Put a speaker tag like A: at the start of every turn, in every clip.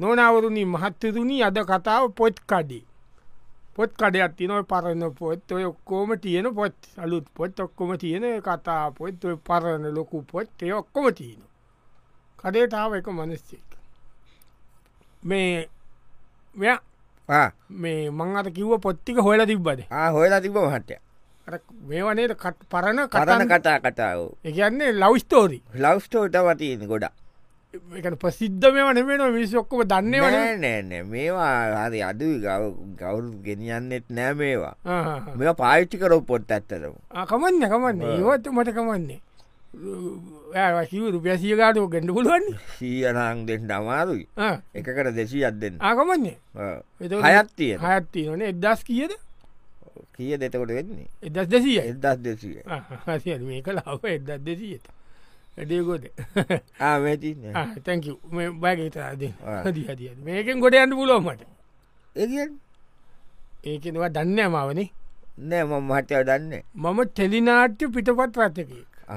A: නොනවරුණි මහත්තරුණි අද කතාව පොත් කඩේ පොත් කඩයක් තිනො පරණ පොත් ඔය ඔක්කෝම තියෙන පොත් අලුත් පොත් ඔක්කොම තියෙන කතා පොත් ඔය පරණ ලොකු පොත් ඒ ඔක්කොම තියෙන කඩේටාව එක මනස්සෙක් මේ මෙයා මේ මං අත කිව්ව පොත්තික හොල තිබ්බද
B: හොයලා තිබ මහට්ටය
A: අර මේවනේට කට් පරණ
B: කරන
A: කටන
B: කතා කතාව
A: එකන්නේ ලවස්තෝරී
B: ලවස්ටෝට වතියෙන් ගොඩා
A: එක ප්‍රසිද්ධ මෙවන මෙන මිනිස් ඔක්කම දන්නේවන
B: නෑනෑ මේවා හරි අඩු ගෞරු ගෙනියන්නෙත් නෑ මේවා මෙ පාවිච්චි කරෝ පොත් ඇත්තරම
A: කමන්න කමන්න ඒවත් මට කමන්නේ Ah, ඇකිවරු පැසිකාට ගෙන්ඩ පුළුවන්
B: සීයනං දෙෙන් අමාරුයි
A: Ah,
B: එකකට දෙසී අත් දෙන්න
A: ආකමන්නේ
B: හයත් තිය
A: හයත්ති නේ එදස් කියද
B: කිය දෙතකොට වෙන්නේ
A: එදස් දෙසිය
B: එදස් දෙසිය
A: Ah, මේ කළ හව එදත් දෙසියට එඩේකොද
B: ආමති
A: තැක බයගේතරද හදිහදිය මේකෙන් ගොඩ අන්න පුලෝමට
B: එ
A: ඒකෙනවා දන්න මාවනේ
B: නෑ මම මහටව දන්න
A: මම ටෙලිනාට්‍ය පිටපත් රත්තකක්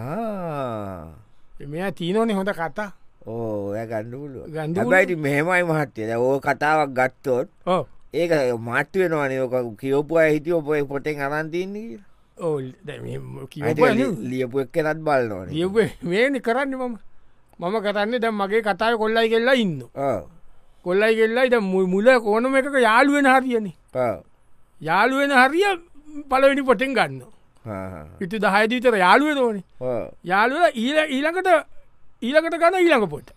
A: මෙයා තිීනෝනේ හොඳ කතා
B: ඕ ඔය ගණ්ඩුලු
A: ගන්ඩ
B: හැබයිට මෙහෙමයි මහත්තයද ඕ කතාවක් ගත්තොත්
A: ඕ
B: ඒක මාට්‍යවෙනවානේ ඕක කියෝපු අය හිටිය ඔපය පොටෙන් අරන්තින්නේ
A: ඕ
B: ඇයි
A: කිව
B: ලියපු එක් කෙනත් බලන්නවන
A: ියවේ මේනි කරන්න මම මම කරන්නේ දැම් මගේ කතාව කොල්ලයි කෙල්ලා ඉන්න කොල්ලයි කෙල්ලයි ද මුල ඕනම එකක යාළුවෙන හරියනේ යාළුවෙන හරිය පලවෙනි පොටෙන් ගන්න ඉති දහයදීතර යාළුවෙන ඕනේ යාළුව ඊල ඊළඟට ඊලකට ගන්න ඊළඟ පොට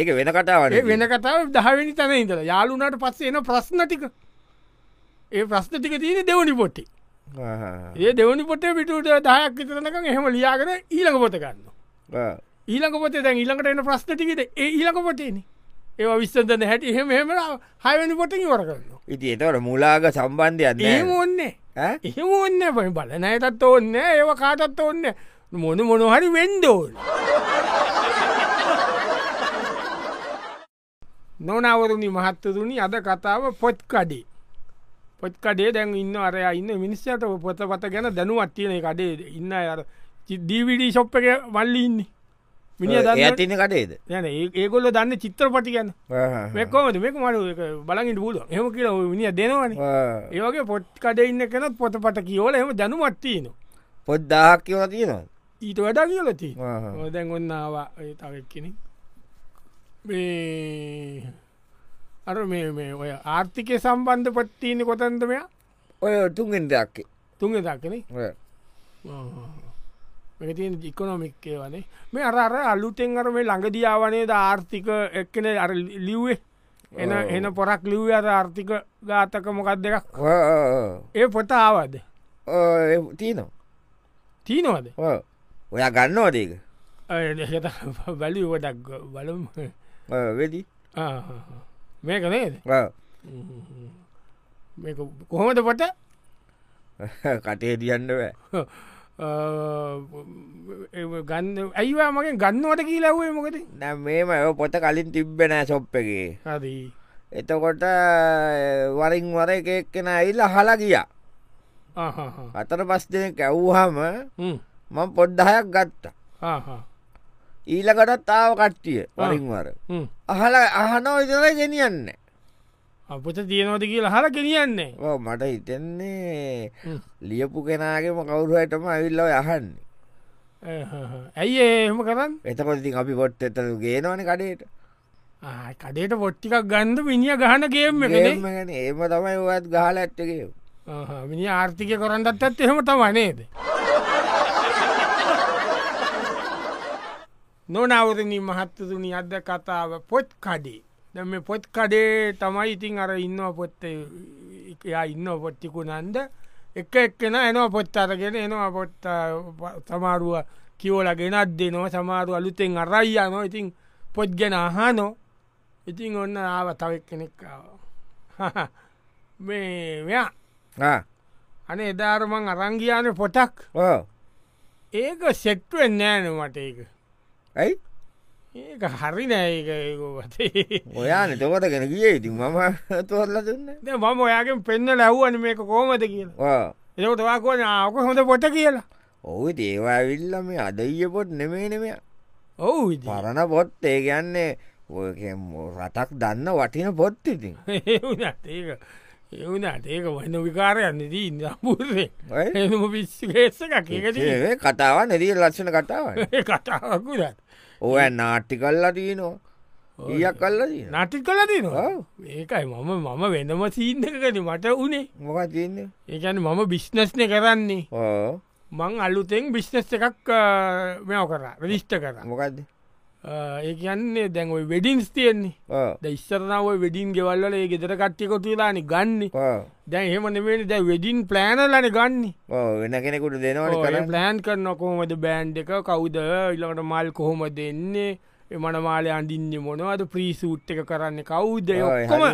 B: ඒක වෙන කතාවට
A: ඒ වෙන කතාව දහවෙනි තැන ඉඳල යාලුනාට පස්සේ එන ප්‍රශ්නටික ඒ ප්‍රශ්නටික තියෙන දෙවනි පොට්ටි ඒ දෙවනි පොටේ පිටුට දහයක් විතරනක එහෙම ලියාගෙන ඊළඟ පොත ගන්න ඊළඟ පොතේ දැන් ඊළඟට එන ප්‍රශ්නටිකට ඒ ඊළඟ පොටේන ඒවා විස්සදන හැටි එහෙම එහෙම හයවැනි පොටකින් වර කරන්න
B: ඉති එතවට මුලාග සම්බන්ධයක්
A: එහෙම ඔන්නේ එහෙම ඔන්න පයි බලනයටත් ඔන්න ඒව කාටත් ඔන්න මොන මොනොහරි වෙන්ඩෝල් නොනවරුණි මහත්තතුනි අද කතාව පොත් කඩේ පොත්කඩේ දැන් ඉන්න අරය ඉන්න මිනිස්සට පොත පත ගැන දැනුවත් තියෙන කඩේ ඉන්න අර දීවිඩී ශොප් එක වල්ලි ඉන්න මිනි දන්න
B: ඇතින කටේද
A: යන ඒගොල්ල දන්න චිත්‍රපටි ගැන මෙකෝමද මේක මට බලගින් පුල හෙම කියල මිනි දෙනවන ඒවගේ පොට් කඩ ඉන්න කෙනත් පොත පට කියෝල එම දැනුමත්තියන
B: පොද්දාහක් කියව තියෙනවා
A: ඊට වැඩ කියලති දැන් ඔන්නවා තවක්කෙන අර මේ මේ ඔය ආර්ථිකය සම්බන්ධ පට්ටීන කොතන්දමය
B: ඔය තුන්ගෙන් දක්කේ
A: තුන්ග දක්කනේ මෙතින් ඉකොනොමික්කේ වනේ මේ අරර අලුතෙන් අර මේ ළඟදියාවනේ ද ආර්ථික එක්කන අර ලිව්වේ එන එන පොරක් ලිව්ව අර ආර්ථික ගාතක මොකක් දෙකක් ඒ පොත ආවද
B: තියනවා
A: තිීනවද
B: ඔයා ගන්නවදේක
A: බැලිවටක් බලම්
B: වෙඩි
A: මේක නේද මේ කොහොමද පොට
B: කටේ දියන්නවෑ
A: ගන්න ඇයිවා මගේ ගන්නවට කියලාවේ මොකද
B: නැ මේම ඔය පොත කලින් තිබ්බෙනෑ සොප් එකේ
A: හදී
B: එතකොට වරින් වර එකක් කෙන ඉල්ල හලා ගිය අතර පස් දෙන කැව්හම මං පොඩ්ඩහයක් ගත්ත ඊලකටත් තාව කට්ටිය වරින්වර අහල අහනෝ ඉතර ගෙනියන්න
A: අපත තියනවද කියලා හර කෙනියන්නේ
B: ඔව් මට හිතෙන්නේ
A: හ්ම්.
B: ලියපු කෙනගේම කවුරුහටම ඇවිල්ලව යහන්න
A: ඇයි ඒ එහෙම කරන්න
B: එතකොටති අපි පොට් එතර ගේනවන කඩේට
A: ආ, කඩේට පොට්ටිකක් ගන්ධ මිනිිය ගහන ගේම් එකනේ
B: ඒමගැන ඒම තමයි ඔත් ගහල ඇත්තකේ
A: මිනි ආර්ථික කරන්නත් ඇත් එහෙම තමනේද නොනවරණී මහත්තතුනි අද කතාව පොත් කඩේ දැම පොත් කඩේ තමයි ඉතින් අර ඉන්න පොත්ත යා ඉන්න පොට්ටිකු නන්ද එක එක්කෙන එනවා පොත් අරගෙන එනවා පොත් සමාරුව කියෝල ගෙනත් දෙනවා සමාරු අලුතෙන් අරයි යනෝ ඉතින් පොත් ගැන අහනෝ ඉතින් ඔන්න ආව තවක් කෙනෙක් ආව. මේ මෙයා අන එදාරමං අරංගයාන පොටක්
B: ඕ
A: ඒක සෙට්ුවෙන් නෑන මට ඒක
B: ඇයි
A: ඒක හරි නෑඒකඒකතේ
B: ඔයා නතකොට ගෙන ගිය ඉතින් මම තොරල දුන්න
A: මම ඔයාගෙන් පෙන්න ලැව්වන මේක කෝමද කියලා එකට වාකෝන ආක හොඳ පොට කියලා
B: ඔහු දේවාවිල්ල මේ අදීය පොට් නෙමේ නෙමය
A: ඔවු
B: පරණ පොත් ඒ කියන්නේ ඔය රටක් දන්න වටින පොත්තිතින්
A: ඒනත් ඒක ඒවුනාට ඒක වන්න විකාරයන්නදී ඉදම්පුරේ එම පිස්සිකේසක කියකේ
B: ඒ කතාව නෙදී ලක්ෂණ කතාව
A: කතාවකුදත්
B: ඔය නාට්ටි කල්ලා තියනවා ඊයක් කල්ලදී
A: නටි කල තිනවා ඒකයි මම මම වෙනම සීන්දකන මට උනේ
B: මොක තියන්නේ
A: ඒකන මම බිශ්නස්න කරන්නේ
B: ඕ
A: මං අලුතෙන් බිශ්නස් එකක් මෙව කර රිිෂ්ට කර
B: මොකක්ද
A: ඒකන්නේ දැන් ඔයි වෙඩින්ස් තියෙන්නේ
B: ඕ
A: ද ඉස්සරනාව වෙඩින් ගෙවල්ල ඒ ගෙදර කට්ටිකොතුලානි ගන්න
B: ඕ
A: දැන් එහෙම නෙමේ දැ වෙඩින් ප්ලෑනල්ලන ගන්නේ
B: ඕ වෙන කෙනෙකුට දෙනවට කර
A: ප්ලෑන් කරන කොහොමද බෑන්් එක කවුද ඉළඟට මල් කොහොම දෙන්නේ එමන මාලය අඳින්න මොනවද ප්‍රීසූට් එක කරන්න කවුද ඔක්කොම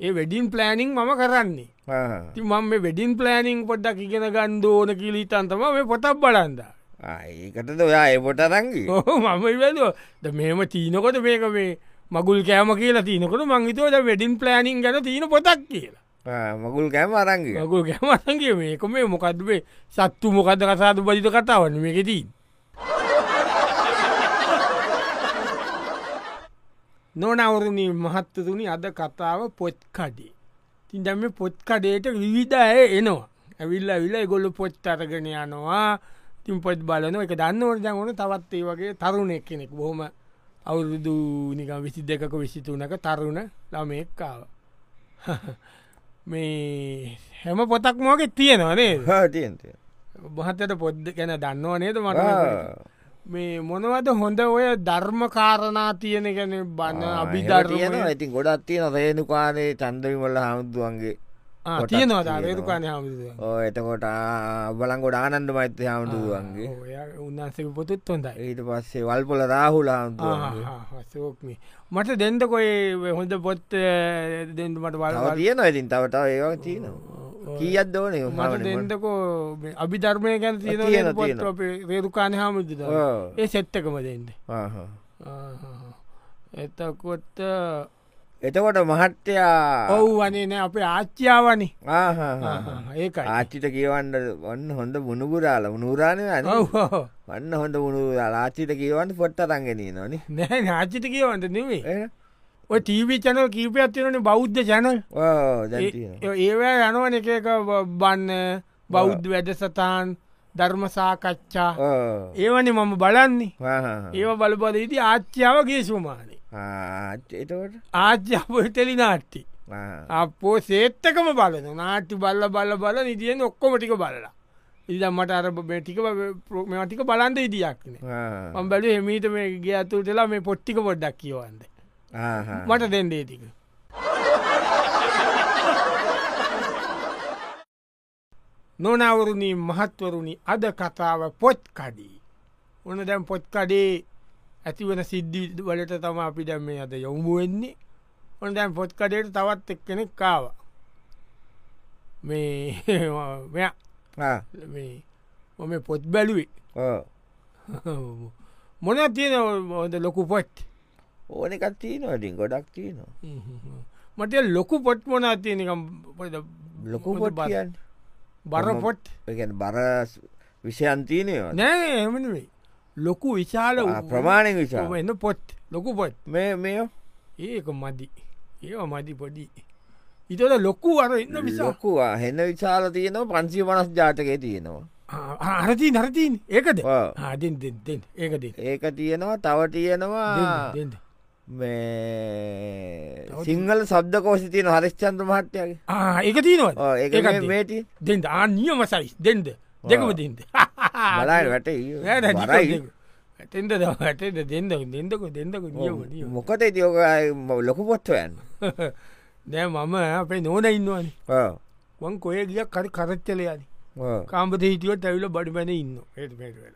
A: ඒ වැඩින් ප්ලෑනිං මම කරන්නේ ති මම මේ වැඩින් ප්ලෑනිං පොඩ්ඩක් ඉගෙන ගන්න ඕන කිලීතන්තම මේ පොතක් බලන්ද
B: ඒකටද ඔයා එපොට රංගි
A: ඔහු මම වැලෝ ද මෙම තිීනකොට මේක මේ මගුල් කෑම කියලා තියනකොට මංහිතවද වැඩින් ප්ලෑනිං ගැන තියන පොතක් කියලා
B: මගුල් කෑම අරංගි
A: මකු ගැමසගේ මේක මේ මොකක්දවේ සත්තු මොකද කසාතු බජිත කතාවන්න මේකෙදී. නොනවරණ මහත්තතුනි අද කතාව පොත්කඩේ. තින්දම පොත්කඩේට විවිධය එනවා. ඇවිල්ල විලා ගොල්ල පොත් අරගෙන යනවා තින් පොත් බලන එක දන්න ඕනදැන් ඕන තවත් ඒ වගේ තරුණෙක් කෙනෙක් බොහොම අවුරුදු නික විසි දෙකක විසිතුනක තරුණ ළමයෙක්කාව. මේ හැම පොතක් මෝකෙත් තියෙනවානේ
B: හටන්තිය
A: බහතට පොද්ද ගැන දන්නවා නේද මට මේ මොනවද හොඳ ඔය ධර්මකාරණා තියෙන ගැන බන්න
B: තියන
A: අභිධර්යන
B: ඉතින් ගොඩත් තියෙන රේනුකානේ චන්දවිමල්ල හමුදුවන්ගේ
A: තියෙනවා
B: පොතක්
A: ධරයතුකාන හාමුදුරුවෝ.
B: ඕ එතකොට බලන් ගොඩ ආනන්ද මෛත්‍ය හාමුදුරුවන්ගේ
A: ඔයා උන්වන්සේ පොතුත් හොඳයි
B: ඊට පස්සේ වල්පොල රාහුල හාමුදුරුවන්ගේ
A: සෝක්ම මට දෙන්දකොයි හොඳ පොත් දෙන්ට මට වල
B: තව තියන ඉතින් තවටාව ඒවා තියනවා කියත් දෝනේ
A: මට
B: මට
A: දෙන්දකෝ මේ අභිධර්මය ගැන තියෙන
B: තියෙනවා,
A: පොත්
B: තියෙනවා.
A: අපේ රේරුකාණ හාමුදුද
B: ඕ.
A: ඒ සෙට්ටකම දෙන්න එතකොත්
B: එතකොට මහත්තයා
A: ඔව් වනේ නෑ අපේ ආච්චාවනි ඒකයි
B: ආච්චිට කියවන්න ඔන්න හොඳ මුණුගුරාල උනුරාණය අන
A: ඔව් ඔව්.
B: වන්න හොඳ මුණුරාල ආච්චිට කියවන්න පොට්ට රංගෙනී නොන
A: නෑ නාචිත කියවන්ට නෙවේ ඔය ටීවී චනල් කීපයක් තියෙනන බෞද්ධ චැනල් ඒවා යනුවන එක එක බ- බන්න බෞද්ධ වැඩසතාන් ධර්මසාකච්ඡා ඒවනි මම බලන්නේ ඒව බලබද ඉති ආච්චාව ගේසුමානේ
B: එතකොට
A: ආච්්‍යාපටලි නාට්ටි අපෝ සේත්තකම බලන නාට්ටි බල්ල බල්ල බල නිතියෙන් ඔක්කොම ටික බලලා ඉදම් මට අර මේ ටික මෙටික බලන්ද ඉදියක්න අම්බල එමීට මේ ගේ ඇතුටලා මේ පොට්ටික පොඩ්ඩක් කියවන්ද මට දෙන්ඩේ තික නොනවරුණී මහත්වරුණි අද කතාව පොත්කඩී ඕන දැම් පොත්කඩේ ඇතිවන සිද්ධි වලට තම අපි දැම් මේ අද යොමුුවෙන්නේ ඔන්න දැම් පොත්කඩයට තවත් එක් කෙනෙක් කාව මේ මෙයා මේ මම පොත් බැලුවේ මොන තියෙන හොද ලොකු පොට්
B: ඕනකත් තියනවටින් ගොඩක් තියනවා
A: මට ලොකු පොට් මොනා තියෙනකම්
B: ලොකු පොට් කියන්න
A: බර පොට්
B: එකන බර විෂයන්තිීනයවා
A: නෑ එමනුවේ ලොකු විශාල
B: ප්‍රමාණය විශා
A: එන්න පොට් ලොකු පොට්
B: මේ මේ
A: ඒක මදි ඒ මදි පොඩි ඉතට ලොකු අර ඉන්න විසා
B: ලොකුවා හෙන්න විශාල තියනවා පන්සී පනස් ජාතකය තියෙනවා
A: අරති නරතින් ඒකද
B: ඔව්.
A: ආදෙන් දෙෙන් ඒකද
B: ඒක තියෙනවා තව තියෙනවා
A: දෙන්න
B: මේ සිංහල සබ්ද කෝසි තියන හරිස්්චන්ද්‍ර මහට්ටයගේ
A: ඒක තියනවා
B: ඒ මේටි
A: දෙන්ට ආනියම සයිස් දෙන්ද දෙකම දෙන්ද
B: බලායි වැට
A: ඇතෙන්ද ඇට දෙන්න දෙන්නක දෙන්නක නියම
B: මොකට ඉතිෝක ලොකු පොත්තුවයන්
A: දැ මම අපේ නෝන ඉන්නවානේ වන් කොය ගියක් කරි කරච්චලයනි කාම්පත හිටියුවත් ඇවිල බඩිපැන ඉන්න ඒටමටවෙල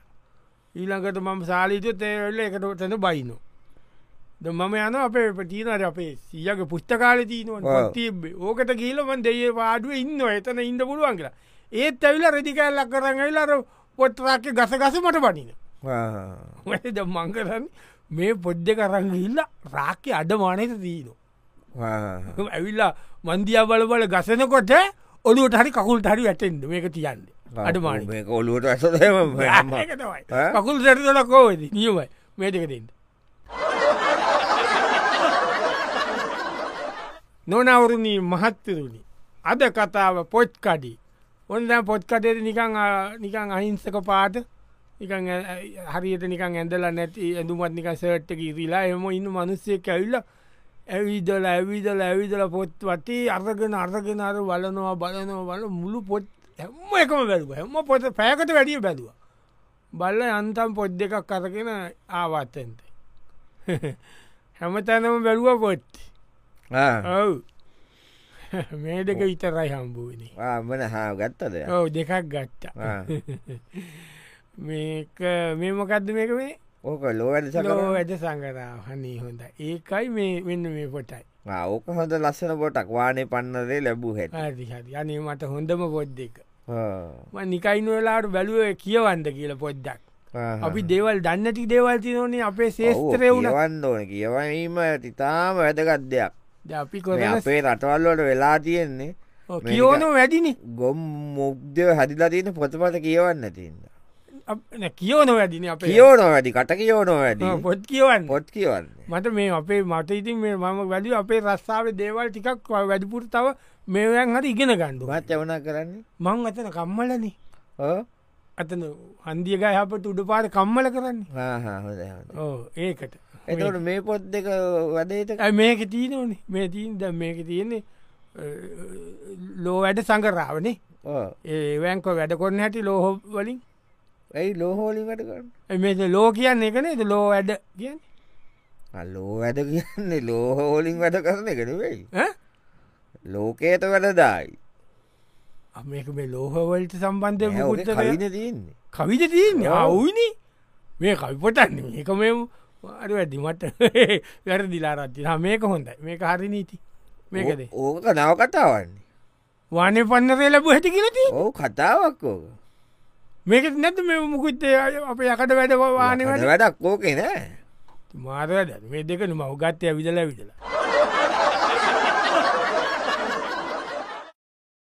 A: ඊළඟට මම සාලීතයොත් ඒවෙල්ල එකට තැන බයිනෝ ද මම යන අපේ පටීනට අපේ සියගේ පුස්්තකාල
B: ඔව්.
A: තියනවා තිබේ ඕකට කියීලමන් දෙේ වාඩුව ඉන්න එතන ඉන්න පුළුවන් කියලා ඒත් ඇවිල රෙදිකල්ලක් කරඟයිලාර පොත්රාක්ක ගස ගස මට පනින වැද මංකරන්න මේ පොඩ්ඩ කරංගිල්ල රාක්‍ය අඩමානයට දීනවා ඇවිල්ලා මන්දිය බල බල ගසනකොට ඔලුව හරි කකුල් හරි ඇටෙන්ද මේක තියන්ද අඩමාන
B: ඔලුවට ඇස
A: කකුල් සැරදලකෝද නියමයි මේටකටෙන්ට නොනවරුණී මහත්තරුණි අද කතාව පොච්කඩි ඔන්න පොත්කඩයට නිකං නිකං අහිංසක පාට නිකං හරියට නිකං ඇඳල නැති ඇඳුමත් නික සට්ක ඉරිලා එම ඉන්න මනුස්සය කැවිල්ල ඇවිදල ඇවිදල ඇවිදල පොත් වටේ අර්ගෙන අර්ගෙන අර වලනවා බලනවා වල මුළු පොත් හැම එකම බැලුව හැම පොත පෑකට වැඩිය බැලුව බල්ල අන්තම් පොද් දෙකක් කරගෙන ආවත්තෙන්ට හැම තැනම බැලුව පොත්ති ඔව් මේ දෙක විතරයි හම්බුවනි
B: මන හා ගත්තද
A: ඔව දෙකක් ගත්තා මේක මේ මොකක්ද මේක මේ
B: ඕක ලෝවැඩ
A: ලෝ ඇද සංගරාව හනී හොඳ ඒකයි මේ වෙන්න මේ පොටයි
B: ඕක හොඳ ලස්සන පොටක් වානේ පන්නදේ ලැබූ හැට
A: හරි අනේ මට හොඳම පොද් දෙක නිකයින් වෙලාට බැලුව කියවන්ද කියල පොද්දක් අපි දේවල් දන්නති දේවල් තිනෝනේ අපේ ශේස්ත්‍රය
B: වන්න ඕන කියවීම ඉතාම වැදගත් දෙයක්
A: ද අපි
B: අපේ රටවල්ලට වෙලා තියෙන්නේ
A: කියෝනු වැඩිනි
B: ගොම් මුක්දව හදිලා තියෙන පොතපත කියවන්න තියන්න
A: කියෝන වැඩින අප
B: කියෝනො වැඩි කට කියෝනො වැඩි
A: පොත් කියවන්න
B: පොත් කියවන්න
A: මට මේ අපේ මට ඉතින් මේ මම වැඩි අපේ රස්සාාව දේවල් ටිකක් වැඩිපුර තව මේවැන් හට ඉගෙන ගණ්ඩු
B: මත් යවනා කරන්නේ
A: මං අතන කම්මලන අතන හන්දියක යහපට උඩ පාට කම්මල කරන්න
B: හොඳ
A: ඕ ඒකට
B: එතට මේ පොත් දෙක වැඩේට
A: ඇයි මේක තියනවනේ මේ තිීන්ද මේක තියෙන්නේ ලෝ වැඩ සඟරාවනේ ඒවැංක වැඩ කොන්න හැටි ලෝහෝ වලින්
B: ඇයි ලෝහෝලි වැඩ කරන්න
A: ඇයි මේ ලෝ කියන්න එකනේද ලෝ වැඩ කියන්න
B: අල්ලෝ වැඩ කියන්නේ ලෝහෝලින් වැඩ කරන එකන වෙයි ලෝකයට වැඩදායි
A: මේක මේ ලෝහවලට සම්බන්ධය
B: ඔය
A: පුත්තර
B: කවින තියන්නේ
A: කවිද තියන්නේ අවුයිනි මේ කවිපොටන්න ඒක මෙ අර වැඩිමට වැර දිලාරත්ති මේක හොඳයි මේක හරි නීති මේකදේ
B: ඕක නව කතාවන්නේ
A: වනේ පන්නරේ ලැබ හැටි කියලති
B: ඕ කතාවක් ඕක
A: මේක නැත මෙ මුකුත්තේ අප යකට වැඩවානේ වැඩ
B: වැඩක් ඕකේ නෑ
A: මාරවැද මේ දෙකන මවගත්තය විදල විදලා